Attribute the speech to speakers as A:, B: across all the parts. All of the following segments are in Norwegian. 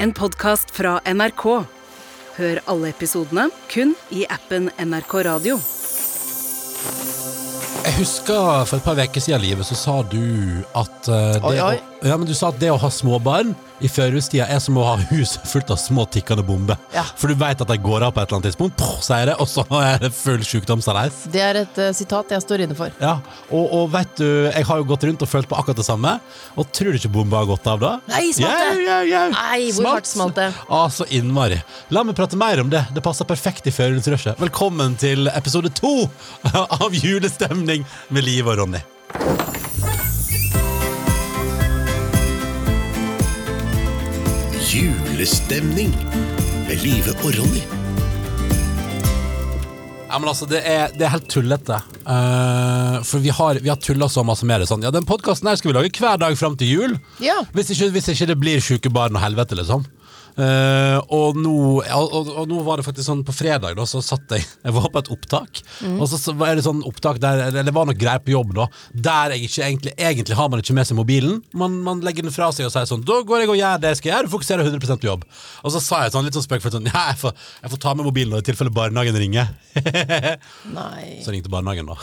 A: En podkast fra NRK. Hør alle episodene kun i appen NRK Radio.
B: Jeg husker for et par uker siden livet, så sa du at eh, det,
C: Oi, oi.
B: Å, ja, men du sa at det å ha småbarn i førjulstida er som å ha huset fullt av små tikkende bomber.
C: Ja.
B: For du veit at de går av på et eller annet tidspunkt, poff, sier det, og så er det full sjukdomsaleis.
C: Det er et eh, sitat jeg står inne for.
B: Ja, og, og vet du, jeg har jo gått rundt og følt på akkurat det samme, og tror du ikke bomba har gått av da?
C: Nei, smalt det?
B: Ja, ja, ja.
C: Nei, hvor hardt smalt det?
B: Ah, så innmari. La meg prate mer om det. Det passer perfekt i førjulsrushet. Velkommen til episode to av Julestemning med Liv og Ronny.
D: Julestemning med Live og Ronny.
B: Ja, men altså, det er, det er helt tullete. Eh, for vi har, vi har tulla så masse med det. Sånn. Ja, den podkasten her skal vi lage hver dag fram til jul.
C: Ja.
B: Hvis, ikke, hvis ikke det blir sjuke barn og helvete, liksom. Eh, og, nå, ja, og, og nå var det faktisk sånn på fredag, da, så satt jeg Jeg var på et opptak. Og så, så var det sånn opptak der Eller det var noe greier på jobb, da. Der jeg ikke egentlig Egentlig har man ikke med seg mobilen. Man, man legger den fra seg og sier sånn Da går jeg og gjør det jeg skal gjøre, og fokuserer 100 på jobb. Og så sa jeg sånn litt sånn spøkefullt sånn Ja, jeg får, jeg får ta med mobilen nå, i tilfelle barnehagen ringer.
C: Nei.
B: Så ringte barnehagen, da.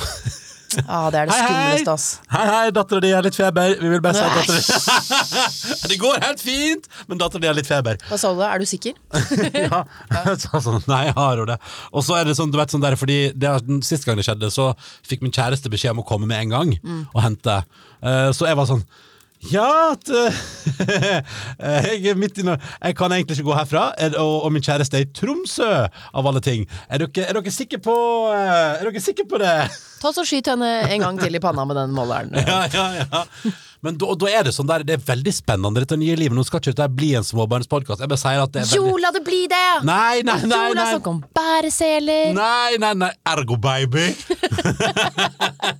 C: Ja, det er det skumleste, ass.
B: Hei, hei, dattera di har litt feber. Vi vil bare si at
C: Nei.
B: dattera Det går helt fint, men dattera di har litt feber.
C: Hva sa du da? Er du sikker?
B: ja. Så, sånn, nei, jeg har jo det. Og så er det sånn, du vet sånn der, fordi det, har- den Sist gang det skjedde, så fikk min kjæreste beskjed om å komme med en gang og hente. Eh, så jeg var sånn ja, at, eh, jeg, er midt i noe- jeg kan egentlig ikke gå herfra, er- og, og min kjæreste er i Tromsø, av alle ting. Er dere, er dere sikre på eh, Er dere sikre på det?
C: Ta så Skyt henne en gang til i panna med den måleren.
B: ja, ja, ja. Men da, da er det sånn der, det er veldig spennende dette nye livet. Nå skal ikke dette bli en småbarnspodkast. Jeg bare sier at det er
C: Jo,
B: veldig
C: la det bli det!
B: Nei, nei, nei,
C: Jo, la
B: nei.
C: oss snakke om bæreseler.
B: Nei, nei, nei, ergo baby!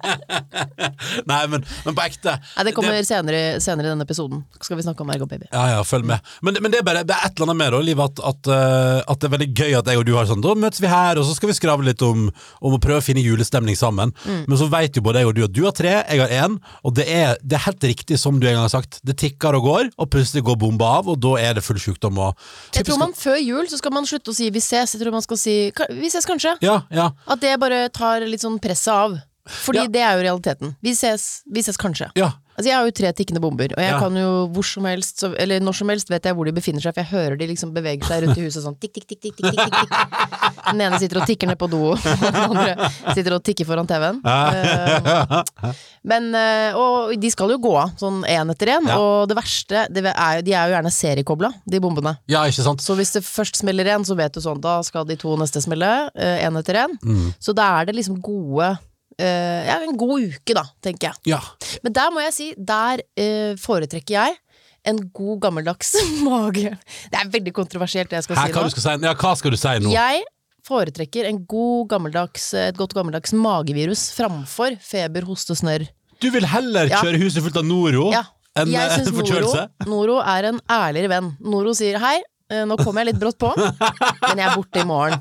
B: nei, men, men på ekte.
C: Nei, det kommer senere, senere i denne episoden. Skal vi snakke om Ergo Baby.
B: Ja, ja, følg med. Men, men det, er bare, det er et eller annet med det, livet at, at, eh, at det er veldig gøy at jeg og du har sånn Da møtes vi her, og så skal vi skravle litt om, om å prøve å finne julestemning sammen.
C: Mm.
B: Men så vet jo både jeg og du at du har tre, jeg har én, og det er, det er helt riktig som du en gang har sagt. Det tikker og går, og plutselig går bomba av, og da er det full sjukdom og
C: Jeg tror man Før jul så skal man slutte å si 'vi ses'. Jeg tror man skal si "Ka- 'vi ses kanskje'.
B: Ja, ja.
C: At det bare tar litt sånn presset av. Fordi
B: Ja.
C: det er jo realiteten. Vi ses, vi ses kanskje.
B: Ja.
C: Altså Jeg har jo tre tikkende bomber, og jeg
B: Ja.
C: kan jo hvor som helst så, Eller når som helst vet jeg hvor de befinner seg, for jeg hører de liksom beveger seg rundt i huset sånn tikk, tikk, tikk, tikk, tikk, tikk, tikk. Den ene sitter og tikker ned på do, og den andre sitter og tikker foran TV-en.
B: Eh,
C: Men, eh, Og de skal jo gå av, sånn én etter én.
B: Ja.
C: Og det verste det er, jo- De er jo gjerne seriekobla, de bombene.
B: ja, ikke sant?
C: Så hvis det først smeller én, så vet du sånn, da skal de to neste smelle, én etter én.
B: Mm.
C: Så da er det liksom gode eh, Ja, en god uke, da, tenker jeg.
B: Ja.
C: Men der må jeg si, der eh, foretrekker jeg en god gammeldags mage. Det er veldig kontroversielt, det jeg skal
B: Her, hva, du
C: si nå.
B: skal si, ja, hva skal du si nå?
C: Jeg foretrekker en god gammeldags, et godt gammeldags magevirus framfor feber, hoste, snørr.
B: Du vil heller
C: Ja.
B: kjøre huset fullt av Noro
C: Ja.
B: enn
C: jeg
B: eh,
C: syns Noro,
B: forkjølelse?
C: Noro er en ærligere venn. Noro sier hei, eh, nå kommer jeg litt brått på, men jeg er borte i morgen.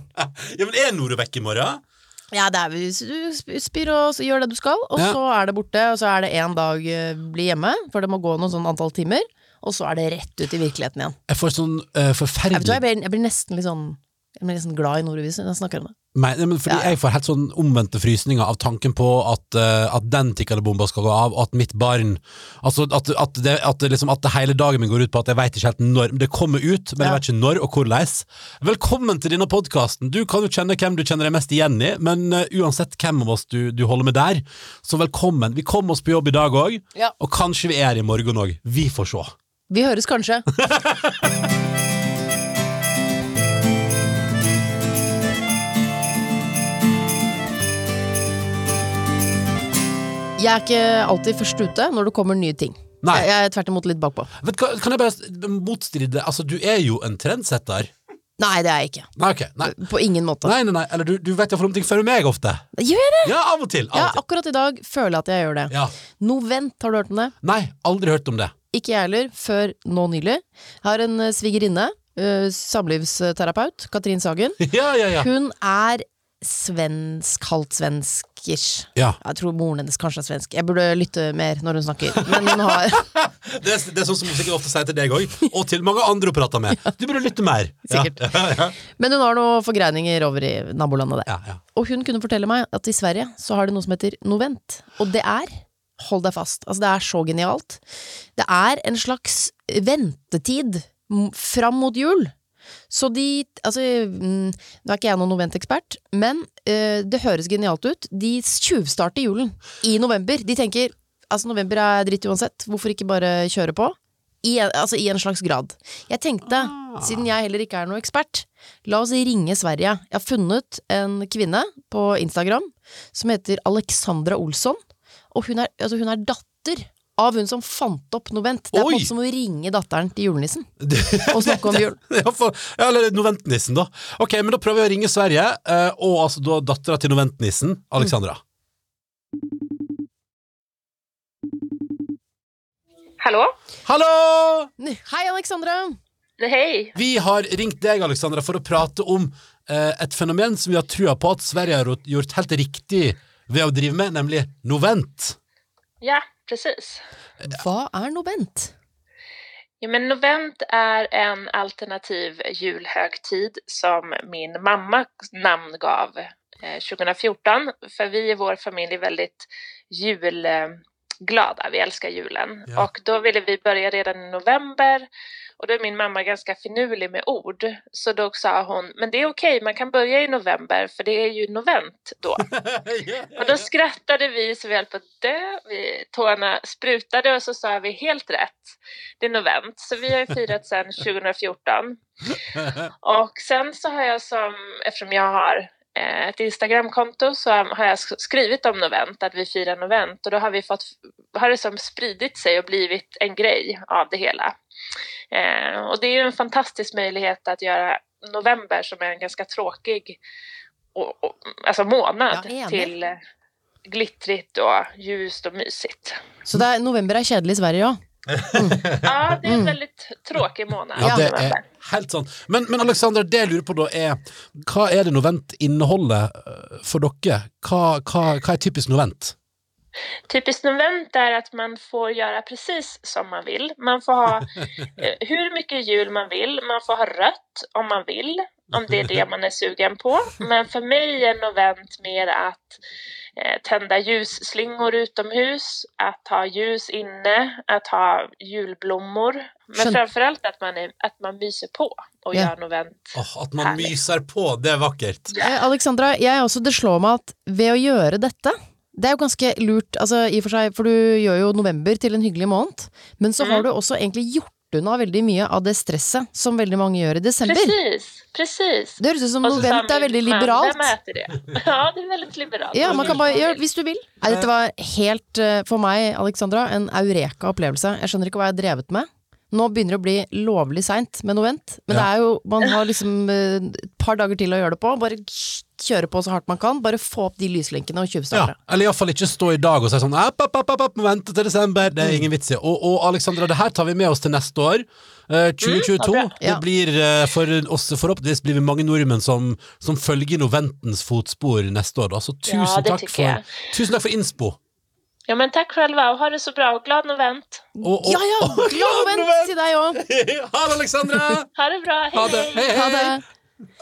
B: Ja, men er Noro vekk i morgen?
C: Ja, det er, hvis du sp- spyr og så gjør det du skal, og
B: Ja.
C: så er det borte, og så er det én dag eh, bli hjemme, for det må gå noen sånn antall timer, og så er det rett ut i virkeligheten igjen.
B: Jeg får sånn eh,
C: Jeg, vet, hva,
B: forferdelig
C: jeg, blir, jeg blir nesten litt sånn jeg blir nesten glad i Nordvis når jeg snakker om det.
B: Nei, nei, men fordi Jeg får helt sånn omvendte frysninger av tanken på at, eh, at den tikkende bomba skal gå av, og at mitt barn Altså at, at, det, at, det liksom, at det hele dagen min går ut på at jeg veit ikke helt når Det kommer ut, men jeg
C: Ja.
B: vet ikke når og hvordan. Velkommen til denne podkasten! Du kan jo kjenne hvem du kjenner deg mest igjen i, men eh, uansett hvem av oss du, du holder med der, så velkommen. Vi kom oss på jobb i dag òg,
C: Ja.
B: og kanskje vi er her i morgen òg. Vi får se.
C: Vi høres kanskje. Jeg er ikke alltid først ute når det kommer nye ting.
B: Nei.
C: Jeg, jeg er tvert imot litt bakpå.
B: Vet, du hva, kan jeg bare motstride? Altså, du er jo en trendsetter.
C: Nei, det er jeg ikke.
B: Nei, ok. Nei,
C: På ingen måte.
B: nei, nei. nei. Eller du, du vet iallfall om ting før meg ofte.
C: Gjør jeg det?
B: Ja, av og til.
C: Ja,
B: Av og til.
C: akkurat i dag føler jeg at jeg gjør det.
B: Ja.
C: Novent, har du hørt om det?
B: Nei, aldri hørt om det.
C: Ikke jeg heller, før nå nylig. Jeg har en eh, svigerinne, eh, samlivsterapeut, Katrin Sagen.
B: Ja, ja, ja.
C: Hun er svensk, halvt svensk, svensk-ish.
B: Ja.
C: Jeg tror moren hennes kanskje er svensk. Jeg burde lytte mer når hun snakker. Men hun har
B: Det er, det er sånn som hun sikkert ofte sier til deg òg, og til mange andre hun prater med. Du burde lytte mer.
C: Sikkert. Men hun har noen forgreininger over i nabolandet der.
B: Ja, ja.
C: Og hun kunne fortelle meg at i Sverige så har de noe som heter Novent. Og det er, hold deg fast, altså det er så genialt, det er en slags ventetid m- fram mot jul. Så de, altså, mm, nå er ikke jeg noen Novent-ekspert, men eh, det høres genialt ut. De tjuvstarter julen i november. De tenker, altså november er dritt uansett, hvorfor ikke bare kjøre på? I, en- altså i en slags grad. Jeg tenkte, siden jeg heller ikke er noen ekspert, la oss ringe Sverige. Jeg har funnet en kvinne på Instagram som heter Alexandra Olsson. Og hun er, altså hun er datter av hun som fant opp Novent. Det er på
B: Oi!
C: en måte som å ringe datteren til julenissen og snakke om jul.
B: Ja, for, ja, eller Noventnissen, da. Ok, men Da prøver jeg å ringe Sverige, eh, og altså da dattera til Noventnissen, Alexandra.
E: Hallå?
B: Hallo!
C: Hei, Alexandra!
E: Hej!
B: Vi har ringt deg, Alexandra, for å prate om eh, et fenomen som vi har trua på at Sverige har gjort helt riktig ved å drive med, nemlig novent.
E: Ja, precis.
C: Hva er Novent?
E: Ja, men Novent är en alternativ julhögtid som min mamma namngav eh, 2014. För vi i vår familj är väldigt julglada, vi älskar julen.
B: Ja.
E: Och då ville vi börja redan i november och då är min mamma ganska finurlig med ord. Så då sa hon, men det är okej, man kan börja i november för det är ju novent då. Och då skrattade vi så vi höll på att dö. Vi, tårna sprutade och så sa vi helt rätt. Det är novent. Så vi har ju firat sedan 2014. Och sen så har jag som, eftersom jag har eh, ett Instagramkonto så har jag sk- skrivit om novent, att vi firar novent. Och då har, vi fått, har det som spridit sig och blivit en grej av det hela. Eh, och det är ju en fantastisk möjlighet att göra november som är en ganska tråkig och, och, alltså månad
C: Ja, enig.
E: till eh, glittrigt och ljust och mysigt.
C: Så det er, november er kjedelig i Sverige òg.
E: Ja, det är en väldigt tråkig månad.
B: Ja, det
E: november.
B: er helt sant. Men, men Alexandra, det jeg lurer på da er Hva er det novent inneholder eh, for dere? Hva, hva, hva er typisk novent?
E: Typiskt novent är att man får göra precis som man vill. Man får ha eh, hur mycket jul man vill, man får ha rött om man vill, om det är det man är sugen på. Men för mig är novent mer att eh, tända ljusslingor utomhus, att ha ljus inne, att ha julblommor. Men
C: Skön-
E: framförallt att man, är, att man myser på och
C: Ja.
E: gör novent.
B: Åh, at man
E: Herlig.
B: myser på, det er vakkert.
C: Eh, Alexandra, jeg også, det slår meg at ved å gjøre dette det er jo ganske lurt, altså, i og for, seg, for du gjør jo november til en hyggelig måned. Men så
E: Mm.
C: har du også egentlig gjort unna veldig mye av det stresset som veldig mange gjør i desember.
E: Precis, precis.
C: Det høres ut som
E: Och så sa
C: novent er
E: min
C: veldig
E: man,
C: liberalt.
E: Vem äter det? Ja, det är väldigt liberalt.
C: Ja,
E: Man
C: man
E: gör
C: kan bare
E: som man
C: gjøre
E: vill.
C: det hvis du vil. Nei, dette var helt, eh, for meg, Alexandra, en eureka-opplevelse. Jeg skjønner ikke hva jeg har drevet med. Nå begynner det å bli lovlig seint med novent, men det
B: Ja.
C: er jo, man har liksom eh, et par dager til å gjøre det på. Bare kjøre på så hardt man kan. Bare få opp de lyslenkene og
B: Ja,
C: tjuvstarte.
B: eller iallfall ikke stå i dag og si sånn app, app, app, app, app, vente til desember. Det er ingen vits i. Og, og Alexandra, det her tar vi med oss til neste år. Eh, 2022.
E: Mm,
B: det
C: Ja.
B: blir eh, for oss forhåpentligvis blir vi mange nordmenn som, som følger Noventens fotspor neste år. Da. Så tusen,
E: Ja, det
B: takk
E: tykker jeg.
B: for, tusen takk for innspo.
E: Ja, men tack själva och ha det så bra och glad novent.
B: Og, og,
C: Ja ja,
B: og-
C: glad novent til deg òg!
B: ha det, Alexandra!
E: Ha det bra, hej
B: Ha det.
E: hej.
B: Hei,
C: Ha det.
B: hei.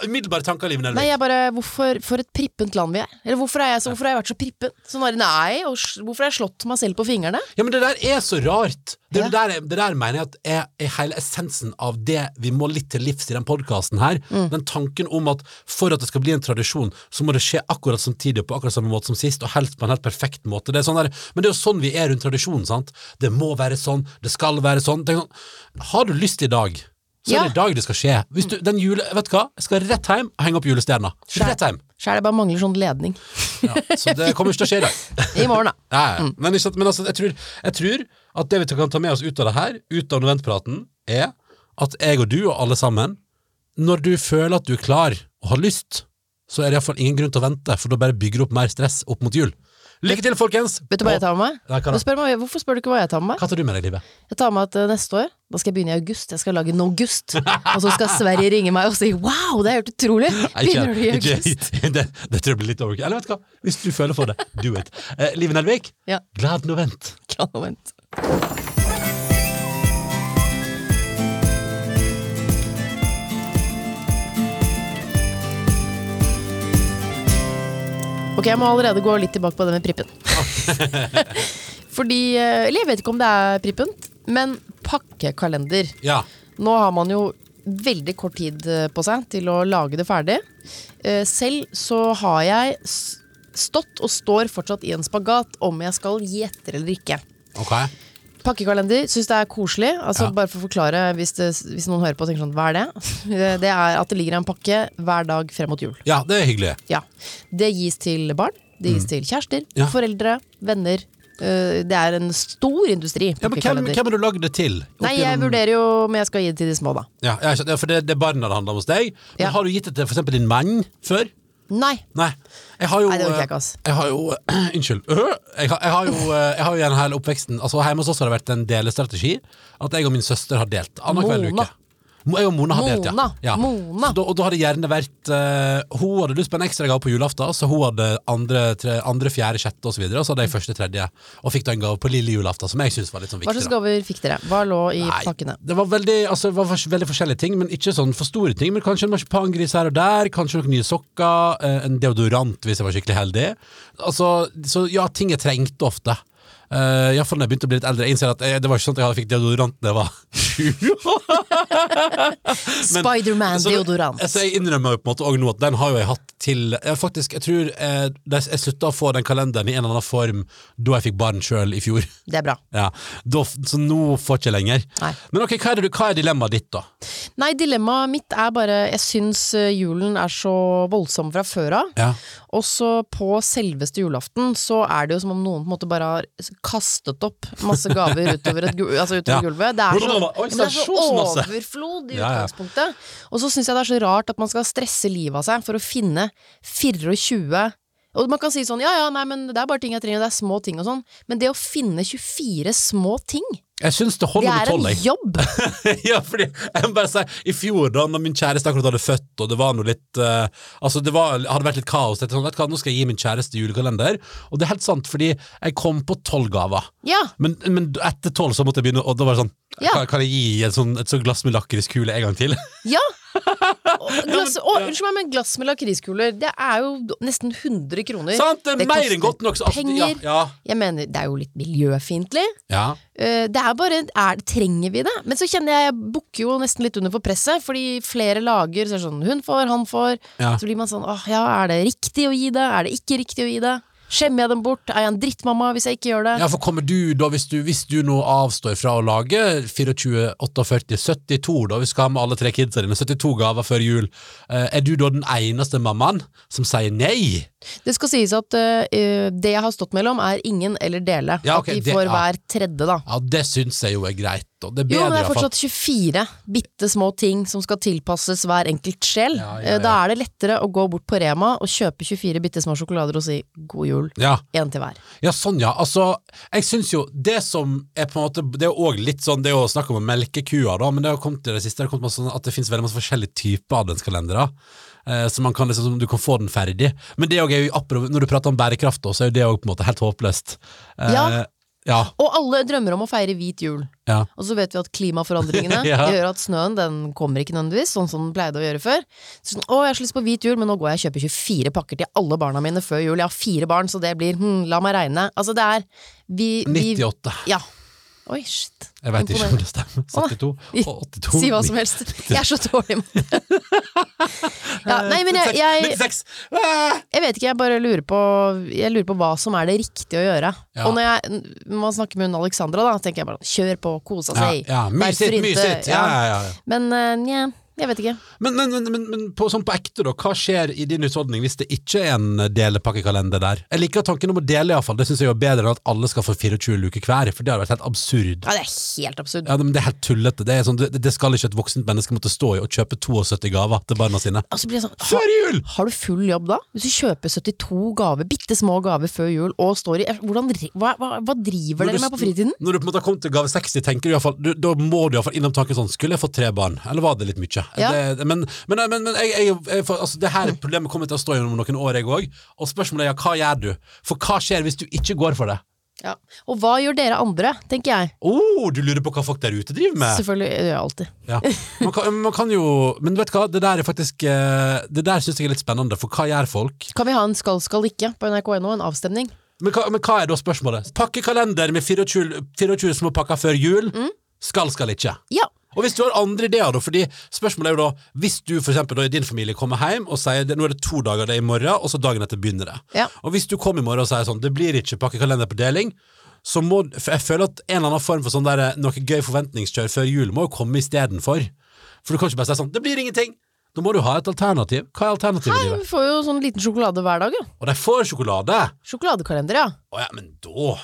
B: Umiddelbare tanker, Liv
C: Nei,
B: Nelvik.
C: jeg bare, hvorfor, For et prippent land vi er. Eller hvorfor, er jeg så, hvorfor har jeg vært så prippen? Sånn der, nei, og, s- Hvorfor har jeg slått meg selv på fingrene?
B: Ja, men det der er så rart. Det,
C: Ja.
B: der, det der mener jeg at er, er hele essensen av det vi må litt til livs i den podkasten her.
C: Mm.
B: Den tanken om at for at det skal bli en tradisjon, så må det skje akkurat samtidig og på akkurat samme måte som sist, og helst på en helt perfekt måte. Det er sånn der, men det er jo sånn vi er rundt tradisjonen, sant. Det må være sånn, det skal være sånn. Tenk sånn har du lyst i dag, så
C: Ja.
B: er det i dag det skal skje. Hvis du, den jule, vet du hva, jeg skal rett hjem og henge opp julestjerna. Rett hjem.
C: Sjæl, jeg bare mangler sånn ledning.
B: Ja, så det kommer ikke til å skje i dag.
C: I morgen, da.
B: Ja, ja. Men, ikke sant? men altså, jeg, tror, jeg tror at det vi kan ta med oss ut av det her, ut av noventpraten, er at jeg og du og alle sammen, når du føler at du er klar og har lyst, så er det iallfall ingen grunn til å vente, for da bare bygger du opp mer stress opp mot jul. Lykke til, folkens!
C: Vet du hva jeg tar med meg?
B: Nei, hva da?
C: Nå spør du meg? Hvorfor spør du ikke hva jeg tar med meg?
B: Hva tar du med deg, Live?
C: Jeg tar med at eh, neste år, da skal jeg begynne i august. Jeg skal lage en august. Og så skal Sverige ringe meg og si 'wow, det er helt utrolig'!
B: Nei, ikke-
C: Begynner du i
B: ikke-
C: august?
B: det, det tror jeg blir litt overkill. Eller vet du hva, hvis du føler for det, do it. Eh, Live Nelvik,
C: Ja.
B: glad novent.
C: Glad moment. Ok, jeg må allerede gå litt tilbake på det med prippen. Fordi, eh, eller jeg vet ikke om det er prippen, men pakkekalender.
B: Ja.
C: Nå har man jo veldig kort tid eh, på seg til å lage det ferdig. Eh, Selv så har jeg s- stått og står fortsatt i en spagat om jeg skal gi etter eller ikke.
B: Ok.
C: Pakkekalender syns det er koselig. Altså,
B: Ja.
C: Bare for å forklare, hvis, det, hvis noen hører på og tenker sånn, hva er det? Det er at det ligger en pakke hver dag frem mot jul.
B: Ja, det er hyggelig.
C: Ja. Det gis til barn, det gis til kjærester,
B: Mm. Ja.
C: foreldre, venner. Eh, Det er en stor industri.
B: Ja, men hvem,
C: pakkekalender.
B: hvem har du lagd det til? Opp
C: Nei, jeg
B: gjennom-
C: vurderer jo om jeg skal gi det til de små, da.
B: Ja, jeg skjønner, ja, for det, det er barna det handler om hos deg. Men
C: Ja.
B: Har du gitt det til for eksempel din mann før?
C: Nei.
B: Nei. Jeg har jo, eh,
C: Nei, det orker jeg ikke, ass.
B: Jeg har jo Unnskyld. Øh, Jeg har, jeg har jo eh, Jeg har jo gjennom hele oppveksten Altså Hjemme hos oss har det vært en delestrategi. At jeg og min søster har delt. Annenhver
C: Mona.
B: uke. Mo- Jeg og Mona har delt, ja.
C: Mona.
B: ja.
C: Mona.
B: Så Da, og da har det gjerne vært eh, Hun hadde lyst på en ekstra gave på julaften, så hun hadde andre, tre, andre fjerde, sjette osv. Og, så videre, og så hadde jeg første, tredje, og fikk da en gave på lille julaften, som jeg syntes var litt sånn
C: Hva
B: viktig.
C: slags
B: da.
C: gaver fikk dere? Hva lå i
B: Nei,
C: pakkene?
B: Det var, veldig, altså, det var fors- veldig forskjellige ting, men ikke sånn for store ting. Men Kanskje en marsipangris her og der, kanskje noen nye sokker, eh, en deodorant hvis jeg var skikkelig heldig. Altså, så ja, ting jeg trengte ofte. Uh, Iallfall når jeg begynte å bli litt eldre. Jeg innser at eh, Det var ikke sånn at jeg fikk deodorant da jeg var sju. Men-
C: Spiderman
B: så-
C: deodorant.
B: Så jeg innrømmer jo på en måte også nå at den har jo jeg hatt til Jeg, faktisk, jeg tror eh, jeg, jeg slutta å få den kalenderen i en eller annen form da jeg fikk barn sjøl i fjor.
C: Det er bra.
B: Ja, da, så nå får jeg ikke lenger.
C: Nei.
B: Men ok, hva er, det, du- hva er dilemmaet ditt, da?
C: Nei, dilemmaet mitt er bare Jeg syns eh, julen er så voldsom fra før av.
B: Ja.
C: Og så på selveste julaften så er det jo som om noen på en måte bare har kastet opp masse gaver utover, et, gul- altså utover
B: Ja.
C: gulvet. Det er så,
B: Hvordan var det? Oi,
C: ja, men det er
B: så
C: så
B: masse.
C: overflod i
B: Ja, ja.
C: utgangspunktet. Og så syns jeg det er så rart at man skal stresse livet av seg for å finne 24 og man kan si sånn, ja ja, nei, men det er bare ting jeg trenger, det er små ting og sånn, men det å finne 24 små ting,
B: Jeg syns det
C: det
B: holder med
C: er en
B: tolv, jeg.
C: jobb!
B: ja, fordi jeg må bare si, I fjor, da når min kjæreste akkurat hadde født, og det var noe litt eh, Altså, det var, hadde vært litt kaos. Jeg tenkte sånn, vet du hva, nå skal jeg gi min kjæreste julekalender. Og det er helt sant, fordi jeg kom på tolv gaver.
C: Ja!
B: Men, men etter tolv så måtte jeg begynne, og da var det sånn
C: Ja.
B: kan, kan jeg gi et sånt, et sånt glass med lakriskule en gang til?
C: Ja! Og Glass, å, unnskyld meg, men glass med lakriskuler, det er jo nesten 100 kroner.
B: Sant? Det er
C: Det
B: mer
C: koster
B: enn godt nok. så- altså,
C: penger.
B: Ja,
C: Jeg mener, det er jo litt miljøfiendtlig.
B: ja. ja.
C: Eh, Det er bare, er, trenger vi det? Men så kjenner jeg, jeg bukker jo nesten litt under for presset, fordi flere lager, så er det sånn, hun får, han får.
B: Ja.
C: Så blir man sånn, åh ja, er det riktig å gi det? Er det ikke riktig å gi det? Skjemmer jeg dem bort? Er jeg en drittmamma hvis jeg ikke gjør det?
B: Ja, for kommer du da, hvis du, hvis du nå avstår fra å lage 24, 48, 72 da, vi skal ha med alle tre kidsa dine, 72 gaver før jul, eh, er du da den eneste mammaen som sier nei?
C: Det skal sies at eh, det jeg har stått mellom er ingen eller dele.
B: Ja, ok,
C: at
B: det-
C: de får
B: ja.
C: hver tredje da.
B: Ja, det syns jeg jo er greit, og det er
C: Jo,
B: bedre
C: men
B: i
C: det
B: hvert
C: er
B: fall.
C: fortsatt 24 bitte små ting som skal tilpasses hver enkelt sjel.
B: Ja, ja,
C: Eh, Da
B: ja.
C: er det lettere å gå bort på Rema og kjøpe 24 bitte små sjokolader og si god jul.
B: Ja,
C: Én til hver.
B: ja, sånn ja. Altså, jeg syns jo det som er på en måte Det er jo òg litt sånn, det er jo snakk om å melke kua, da, men det har kommet til det siste det har kommet masse sånn at det finnes veldig masse forskjellige typer adventskalendere. eh, Så man kan liksom, som du kan få den ferdig. Men det òg er jo, apropos- når du prater om bærekraft, også, så er jo det òg på en måte helt håpløst. Eh,
C: Ja.
B: ja.
C: Og alle drømmer om å feire hvit jul.
B: Ja.
C: Og så vet vi at klimaforandringene
B: Ja.
C: gjør at snøen den kommer ikke nødvendigvis, sånn som den pleide å gjøre før. Så sånn, å, jeg har så lyst på hvit jul, men nå går jeg og kjøper 24 pakker til alle barna mine før jul. Jeg har fire barn, så det blir hm, la meg regne. Altså, det er vi, vi
B: 98.
C: Ja. Oi, shit.
B: Jeg veit ikke om det stemmer.
C: Å,
B: 72 og 82.
C: Si hva som helst. Jeg er så dårlig med det. Ja, nei, men jeg, jeg,
B: 96! Eh, Ah!
C: jeg vet ikke, jeg bare lurer på Jeg lurer på hva som er det riktige å gjøre.
B: Ja.
C: Og når jeg, når man snakker med hun Alexandra, da, tenker jeg bare kjør på, kosa
B: Ja,
C: seg.
B: ja.
C: Derfor
B: Mysit,
C: inte-
B: mysit! Ja, ja, ja.
C: Men eh, nja, Jeg vet ikke.
B: Men, men, men, men, men på, sånn på ekte, da, hva skjer i din husholdning hvis det ikke er en eh, delepakkekalender der? Jeg liker tanken om å dele, iallfall. Det syns jeg er bedre enn at alle skal få 24 luker hver, for det hadde vært helt absurd.
C: Ja, det er helt absurd.
B: Ja, men Det er helt tullete. Det, er sånn, det, det skal ikke et voksent menneske måtte stå i og kjøpe 72 gaver til barna sine.
C: Altså, blir det sånn, ha,
B: Før jul!
C: har du full jobb da? Hvis du kjøper 72 gaver, bitte små gaver før jul, og står i hvordan, dri- hva, hva, hva driver
B: Når
C: dere
B: du-
C: med på fritiden?
B: Når du på en måte har kommet til gave 60, tenker du i hvert fall, du, da må du i hvert fall innom tanken sånn Skulle jeg fått tre barn, eller var det litt mye?
C: Ja.
B: Det, men men, men, men jeg, jeg, jeg, får- altså, det her problemet kommer til å stå gjennom noen år, jeg òg. Og spørsmålet er ja, hva gjør du? For hva skjer hvis du ikke går for det?
C: Ja. Og hva gjør dere andre, tenker jeg.
B: Å, Oh, du lurer på hva folk der ute driver med?
C: Selvfølgelig jeg gjør jeg alltid.
B: Ja. Man, kan, man kan jo Men vet du hva, det der er faktisk eh, Det der syns jeg er litt spennende, for hva gjør folk?
C: Kan vi ha en skal, skal ikke på nrk.no, en avstemning?
B: Men hva, men hva er da spørsmålet? Pakkekalender med 24, 24 små pakker før jul?
C: Mm.
B: Skal, skal ikke.
C: Ja.
B: Og hvis du har andre ideer, da, fordi spørsmålet er jo da Hvis du for eksempel da i din familie kommer hjem og sier det, nå er det to dager det er i morgen, og så dagen etter begynner det.
C: Ja.
B: Og hvis du kommer i morgen og sier sånn det blir ikke pakkekalender på deling, så må for Jeg føler at en eller annen form for sånn der, noe gøy forventningskjør før jul må jo komme istedenfor. For du kan ikke bare si sånn det blir ingenting. Da må du ha et alternativ. Hva er alternativet i
C: Vi
B: livet?
C: får jo sånn liten sjokolade hver dag, jo.
B: Og de får sjokolade!
C: Sjokoladekalender, ja.
B: Å ja, men da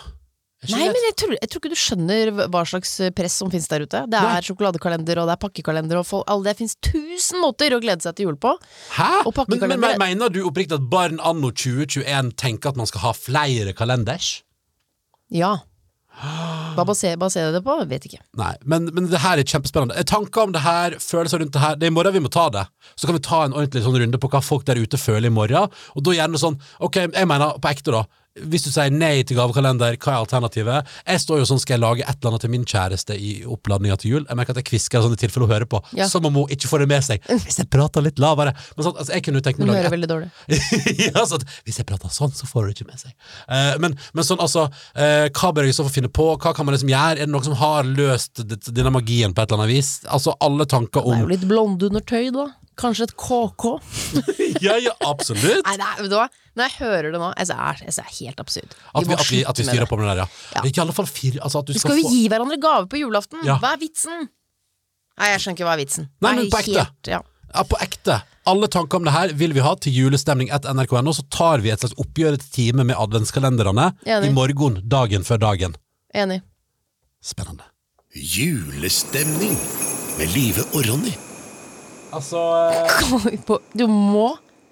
B: Er ikke
C: Nei,
B: det-
C: men jeg tror, jeg tror ikke du skjønner hva slags eh, press som finnes der ute. Det
B: Nei.
C: er sjokoladekalender, og det er pakkekalender, og fol- alle det finnes tusen måter å glede seg til jul på.
B: Hæ?
C: Og
B: Men, men,
C: pakkekalender-
B: men Mener du oppriktig at barn anno 2021 tenker at man skal ha flere kalenders?
C: Ja. Hva baserer baserer jeg det på? Vet ikke.
B: Nei, men, men det her er kjempespennende. Eh, Tanker om det her, følelser rundt det her. Det er i morgen vi må ta det. Så kan vi ta en ordentlig sånn runde på hva folk der ute føler i morgen. Og da gjerne sånn Ok, jeg mener på ekte, da. Hvis du sier nei til gavekalender, hva er alternativet? Jeg står jo sånn, skal jeg lage et eller annet til min kjæreste i oppladninga til jul? Jeg merker at jeg kvisker sånn i tilfelle hun hører på,
C: Ja.
B: som om hun ikke får det med seg. Hvis jeg prater litt lavere Men sånn, altså, jeg kunne jo tenkt meg å
C: Hun
B: lage
C: hører veldig dårlig.
B: ja, så at, hvis jeg prater sånn, så får du ikke med seg. Eh, men, men sånn, altså, eh, hva bør jeg så få finne på? Hva kan man liksom gjøre? Er det noen som har løst d- denne magien på et eller annet vis? Altså, alle tanker
C: Det er
B: om
C: jo litt blondeundertøy, da. Kanskje et KK?
B: Ja, ja, absolutt!
C: Nei, det er, vet du hva? Når jeg hører det nå, altså, er, altså, det er helt absurd.
B: At vi,
C: må
B: at vi, at vi
C: slutte med
B: styrer
C: det.
B: på med det der, ja.
C: Ja.
B: Men Ikke i alle fall fire altså, at du
C: Vi
B: skal
C: skal jo
B: få
C: gi hverandre gave på julaften!
B: Ja.
C: Hva er vitsen? Nei, jeg skjønner ikke hva er vitsen.
B: Nei,
C: Det er
B: men på ekte.
C: helt- Ja.
B: Ja, på ekte. Alle tanker om det her vil vi ha til julestemning etter nrk.no, så tar vi et slags oppgjør etter time med adventskalenderne
C: Enig.
B: i morgen, dagen før dagen.
C: Enig.
B: Spennende.
D: Julestemning med Live og Ronny.
B: Altså
C: På- Du må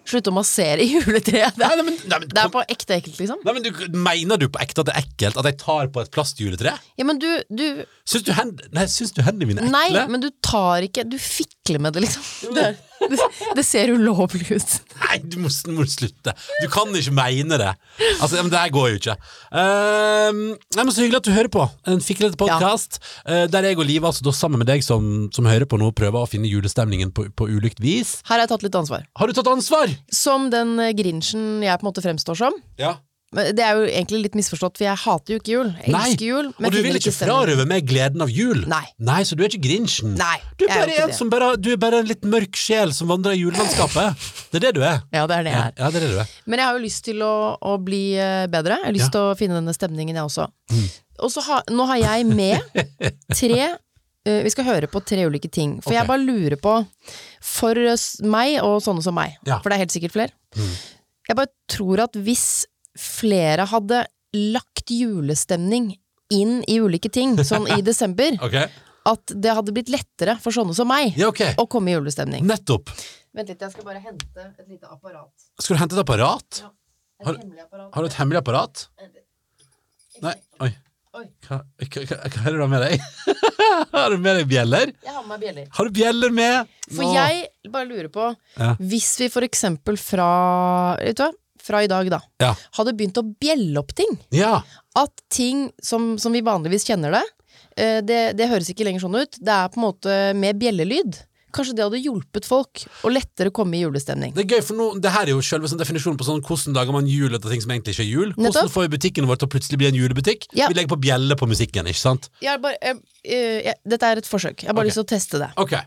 C: slutte å massere juletreet. Det
B: Nei,
C: er,
B: nei, men, nei, men,
C: det er på ekte ekkelt, liksom.
B: Nei, men du, Mener du på ekte at det er ekkelt at jeg tar på et plastjuletre?
C: Ja, men du, du
B: Syns du, hend, nei, syns du hendene mine er
C: Nei,
B: ekle?
C: men du tar ikke Du fikler med det, liksom. Det, er- det, det ser ulovlig ut.
B: Nei, du må, du må slutte. Du kan ikke mene det. Altså, men Det her går jo ikke. Ehm, nei, men Så hyggelig at du hører på. En fiklete podkast der jeg og Liv, altså da sammen med deg som, som hører på nå, prøver å finne julestemningen på, på ulikt vis.
C: Her har jeg tatt litt ansvar.
B: Har du tatt ansvar?
C: Som den eh, grinchen jeg på en måte fremstår som.
B: Ja.
C: Men Det er jo egentlig litt misforstått, for jeg hater jo ikke jul. Jeg
B: Nei,
C: elsker jul.
B: og du vil
C: finner
B: ikke
C: stemning.
B: frarøve meg gleden av jul?
C: Nei.
B: Nei, Så du er ikke Grinchen?
C: Nei,
B: Du er
C: jeg er
B: bare,
C: jo ikke
B: en
C: det.
B: som bare, du er bare en litt mørk sjel som vandrer i julelandskapet. Det er det du er.
C: Ja, det er det jeg
B: Ja,
C: er.
B: ja, det er det du er.
C: Men jeg har jo lyst til å, å bli eh, bedre. Jeg har
B: Ja.
C: lyst
B: Mm.
C: til å finne denne stemningen, jeg også. Og så har- nå har jeg med tre eh, Vi skal høre på tre ulike ting. For
B: Ok.
C: jeg bare lurer på For eh, s- meg og sånne som meg,
B: Ja. Mm.
C: for det er helt sikkert flere Jeg bare tror at hvis flere hadde lagt julestemning inn i ulike ting, sånn i desember,
B: Ok.
C: at det hadde blitt lettere for sånne som meg
B: Ja, ok.
C: å komme i julestemning.
B: Nettopp.
C: Vent litt, jeg skal bare hente et lite apparat.
B: Skal du hente et apparat?
C: Et
B: Har-
C: hemmelig apparat.
B: Har du et hemmelig apparat? Nei, oi.
C: Oi.
B: Hva, hva, hva, hva er det du har med deg? har du med deg bjeller?
C: Jeg har med meg bjeller.
B: Har du bjeller med?
C: For
B: Nå.
C: jeg bare lurer på,
B: Ja.
C: hvis vi for eksempel fra, vet du hva, fra i dag da,
B: Ja.
C: hadde begynt å bjelle opp ting,
B: ja.
C: at ting som, som vi vanligvis kjenner det, eh, det, det høres ikke lenger sånn ut, det er på en måte med bjellelyd. Kanskje det hadde hjulpet folk å lettere komme i julestemning.
B: Det er gøy, for nå, det her er jo selve sånn definisjonen på sånn, hvordan lager man jul etter ting som egentlig ikke er jul. Hvordan
C: Nettopp.
B: får vi butikken vår til å plutselig bli en julebutikk?
C: Ja.
B: Vi legger på bjelle på musikken, ikke sant?
C: Jeg har bare, jeg, eh, jeg, dette er et forsøk, jeg har bare
B: Ok.
C: lyst til å teste det,
B: Ok,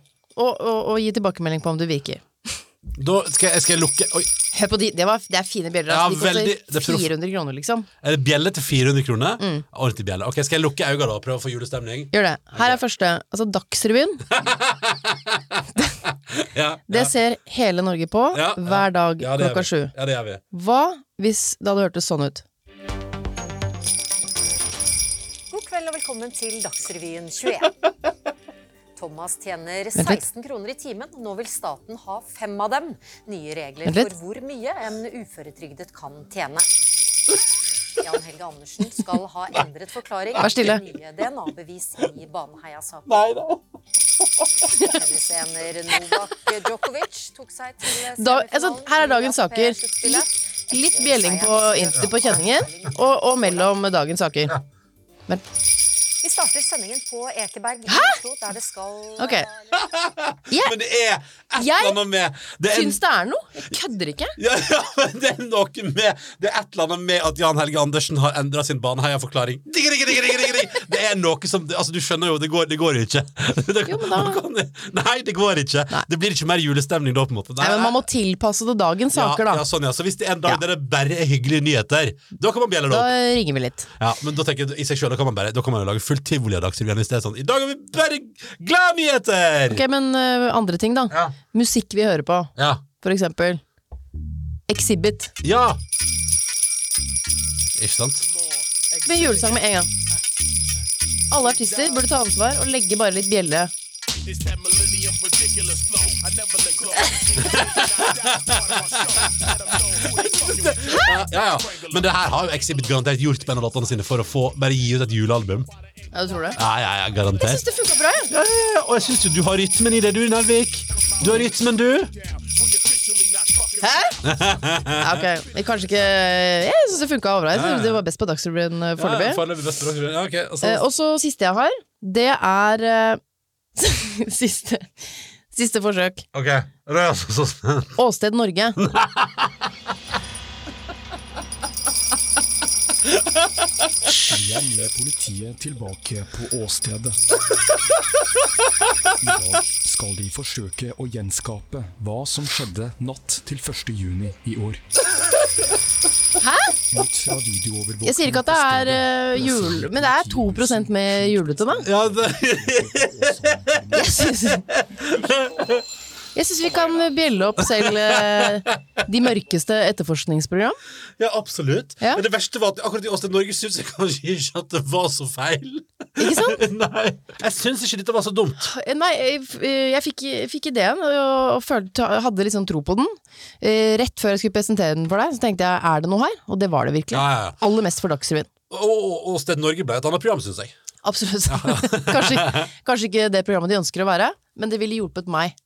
C: og, og, og gi tilbakemelding på om det virker.
B: da skal jeg, skal jeg lukke Oi,
C: Hør på de, det, var, det er fine bjeller.
B: Ja,
C: altså, de
B: veldig- det er
C: koster
B: proff.
C: 400 kroner, liksom.
B: er det bjelle til 400 kroner?
C: Mm.
B: Ordentlig bjelle. Ok, skal jeg lukke øynene da og prøve å få julestemning?
C: Gjør det. Her er første. Altså Dagsrevyen.
B: Ja,
C: Det
B: ja.
C: ser hele Norge på
B: Ja, ja.
C: hver dag
B: Ja, det gjør
C: klokka
B: vi.
C: sju.
B: Ja, det gjør vi.
C: Hva hvis det hadde hørtes sånn ut?
F: God kveld og velkommen til Dagsrevyen 21. Thomas tjener
C: litt.
F: 16 kroner i timen. Nå vil staten ha fem av dem. Nye regler
C: Vent litt.
F: for hvor mye en uføretrygdet kan tjene. Jan Helge Andersen skal ha endret forklaring
C: Vær stille.
F: til nye DNA-bevis i Baneheia-saken. Tennisener Novak Djokovic tok seg til
C: Da, altså, her er dagens saker. Litt,
F: Litt
C: litt bjelling på, inter- på kjenningen, og, og mellom dagens saker.
F: Vi starter sendingen på Ekeberg i Oslo, der det skal
C: Ok.
B: Men det er et
C: Jeg
B: eller annet med det er,
C: Syns det er noe? Jeg kødder ikke.
B: ja, ja, men det er noe med Det er et eller annet med at Jan Helge Andersen har endra sin Baneheia-forklaring. Digg, digg, digg, digg, digg, digg. Det er noe som Altså, du skjønner jo, det går, det går ikke. Det,
C: Jo, men da-
B: man kan- Nei, det går ikke. Det blir ikke mer julestemning da, på en måte.
C: Nei, men Man må tilpasse det dagens saker,
B: ja,
C: da.
B: ja, sånn, ja. Så hvis det er en dag
C: Ja.
B: der det bare er hyggelige nyheter, da kan man bjelle det
C: Da
B: opp.
C: ringer vi litt.
B: Ja, men da tenker jeg i seg selv, da kan man bare Da kan man jo lage fullt tivoli av Dagsrevyen i stedet. Sånn. I dag har vi bare glade nyheter!
C: Ok, Men ø, andre ting, da.
B: Ja.
C: Musikk vi hører på,
B: Ja.
C: for eksempel. Exhibit.
B: ja! Ikke sant?
C: Med julesang med en gang. Alle artister burde ta ansvar og legge bare litt bjelle.
B: Ja, ja, ja. Men det her har jo Exhibit garantert gjort på en av låtene sine for å få bare gi ut et julealbum.
C: Ja, du tror det?
B: Ja, ja, ja,
C: Jeg syns
B: garantert.
C: det funka bra, jeg.
B: Ja, ja, ja. Og jeg syns jo du har rytmen i det, du, Nelvik. Du har rytmen, du.
C: Hæ? Ja, ok. Jeg Kanskje ikke Jeg syns det funka ålreit. Det var best på Dagsrevyen ø, foreløpig.
B: Foreløpig best på Dagsrevyen. Ja, ok. Og så-
C: Eh, og så siste jeg har, det er eh, siste, siste forsøk.
B: Ok. Da er jeg altså så spent.
C: Åsted Norge.
G: Igjen er politiet tilbake på åstedet. I dag skal de forsøke å gjenskape hva som skjedde natt til 1. juni i år. Ut fra videoovervåkning
C: Jeg sier ikke at det er eh, jul, men det er 2 mer julete, da.
B: Ja, det...
C: Jeg syns jeg synes vi kan bjelle opp selv eh, de mørkeste etterforskningsprogram.
B: Ja, absolutt.
C: Ja.
B: Men det verste var at akkurat i Åsted Norge syns jeg kanskje ikke at det var så feil.
C: Ikke sant?
B: Nei, Jeg syns ikke dette var så dumt.
C: Eh, Nei, jeg, f- eh, jeg fikk, jeg fikk ideen og, og følte, hadde litt sånn tro på den. Eh, Rett før jeg skulle presentere den for deg, så tenkte jeg er det noe her? Og det var det virkelig.
B: Ja, ja, ja.
C: Aller mest for Dagsrevyen.
B: Og og Åsted Norge ble et annet program, syns jeg.
C: Absolutt. kanskje, kanskje ikke det programmet de ønsker å være, men det ville hjulpet meg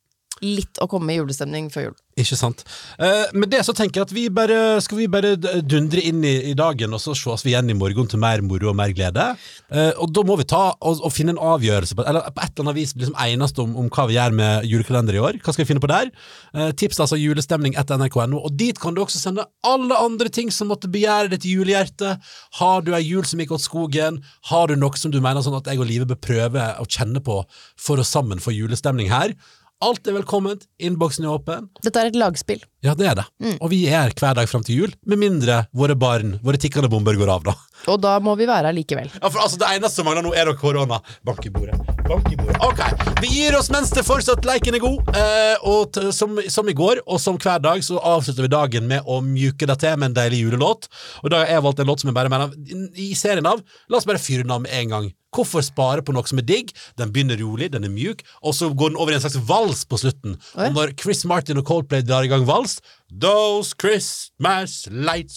C: litt å komme i julestemning før jul.
B: Ikke sant. Eh, med det så tenker jeg at vi bare skal vi bare d- dundre inn i, i dagen, og så ses vi igjen i morgen til mer moro og mer glede. Eh, og da må vi ta og, og finne en avgjørelse, på, eller på et eller annet vis liksom enes om, om hva vi gjør med julekalender i år. Hva skal vi finne på der? Eh, tips altså julestemning etter nrk.no, og dit kan du også sende alle andre ting som måtte begjære ditt julehjerte. Har du ei jul som gikk åt skogen? Har du noe som du mener sånn at jeg og Live bør prøve å kjenne på for å sammen få julestemning her? Alt er velkomment, innboksen er åpen.
C: Dette er et lagspill.
B: Ja, det er det. Og vi er hver dag fram til jul, med mindre våre barn, våre tikkende bomber, går av, da.
C: Og da må vi være her likevel.
B: Ja, for altså, Det eneste som mangler nå, er da korona. Bank i bordet. Bank i bordet. Ok, Vi gir oss mens det fortsatt leiken er god. Eh, og t som, som i går, og som hver dag, så avslutter vi dagen med å mjuke det til med en deilig julelåt. Og da har jeg valgt en låt som jeg bare mener I serien av La oss bare fyre den av med en gang. Hvorfor spare på noe som er digg? Den begynner rolig, den er mjuk, og så går den over i en slags vals på slutten.
C: Å ja.
B: Og når Chris Martin og Coldplay drar i gang vals Those Christmas lights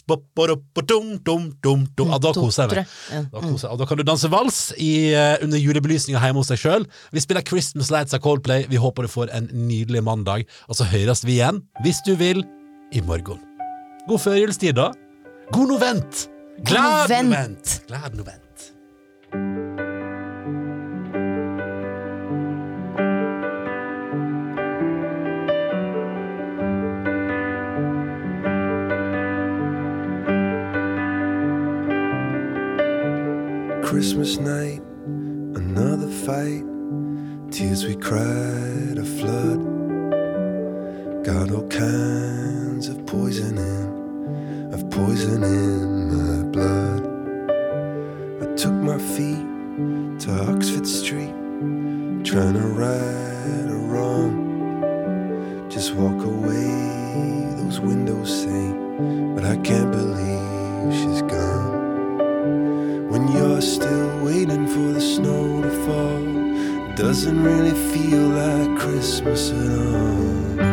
B: bop-bop-bop-dum-dum-dum-dum. Ja, da
C: To,
B: koser jeg meg.
C: tre, en.
B: Da, koser, jeg. og da kan du danse vals i, eh, under julebelysninga hjemme hos deg sjøl. Vi spiller Christmas Lights av Coldplay. Vi håper du får en nydelig mandag. Og så høres vi igjen, hvis du vil, i morgen. God førjulstid, da. God novent! Glad
C: novent.
B: novent! Glad novent.
H: Christmas night, another fight. Tears we cried, a flood. Got all kinds of poison in, of poison in my blood. I took my feet to Oxford Street, trying to right a wrong. doesn't really feel like Christmas at all.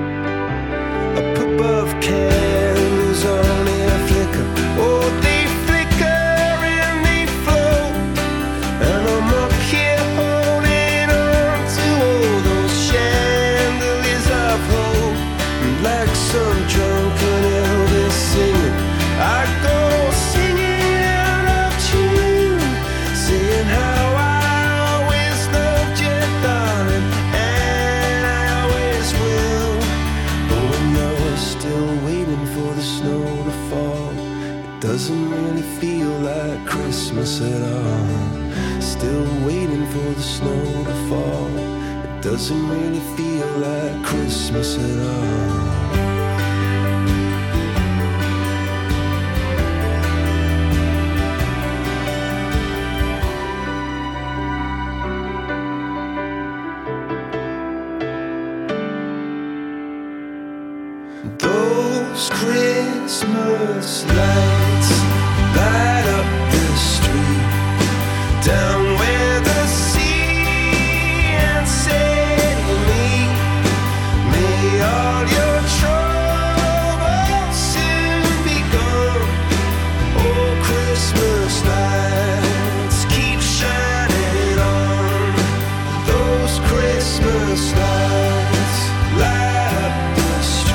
H: Up above candles only a flicker. Oh, they flicker and they float. And I'm up here holding on to all those chandeliers of hope. And like some drunken Elvis singing, I go singing out of tune, saying how I always loved you, darling, and I always will. But when you're Oh, still waiting for the snow to fall, it doesn't really feel like Christmas at all. Still waiting for the snow to fall, it doesn't really feel like Christmas at all. Those Christmas lights light up the street down where the sea and sail meet. May all your troubles soon be gone. Oh, Christmas lights keep shining on. Those Christmas lights light up the street.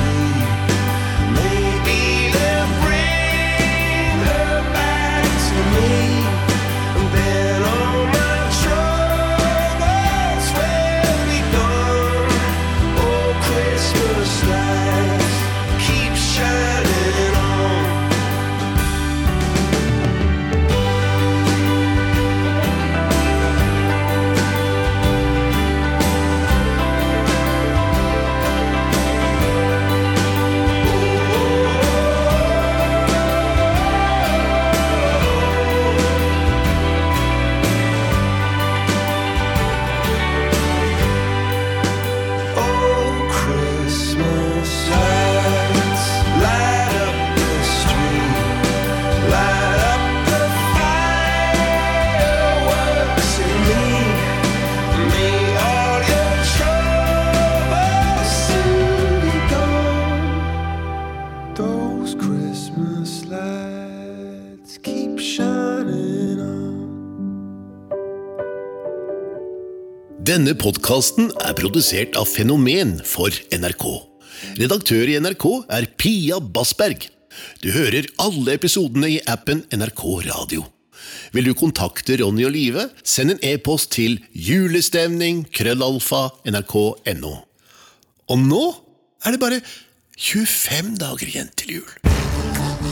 H: Maybe they'll bring her back to me, and then all my troubles will be gone. Oh, Christmas lights keep shining on. Oh, Christmas lights light up the street, light up the fireworks in me. May all your troubles soon be gone. Those Christmas lights keep shining on.
D: Denne podkasten er produsert av Fenomen for NRK. Redaktør i NRK er Pia Bassberg. Du hører alle episodene i appen NRK Radio. Vil du kontakte Ronny og Live, send en e-post til julestemning krøllalfa nrk.no. Og nå er det bare 25 dager igjen til jul.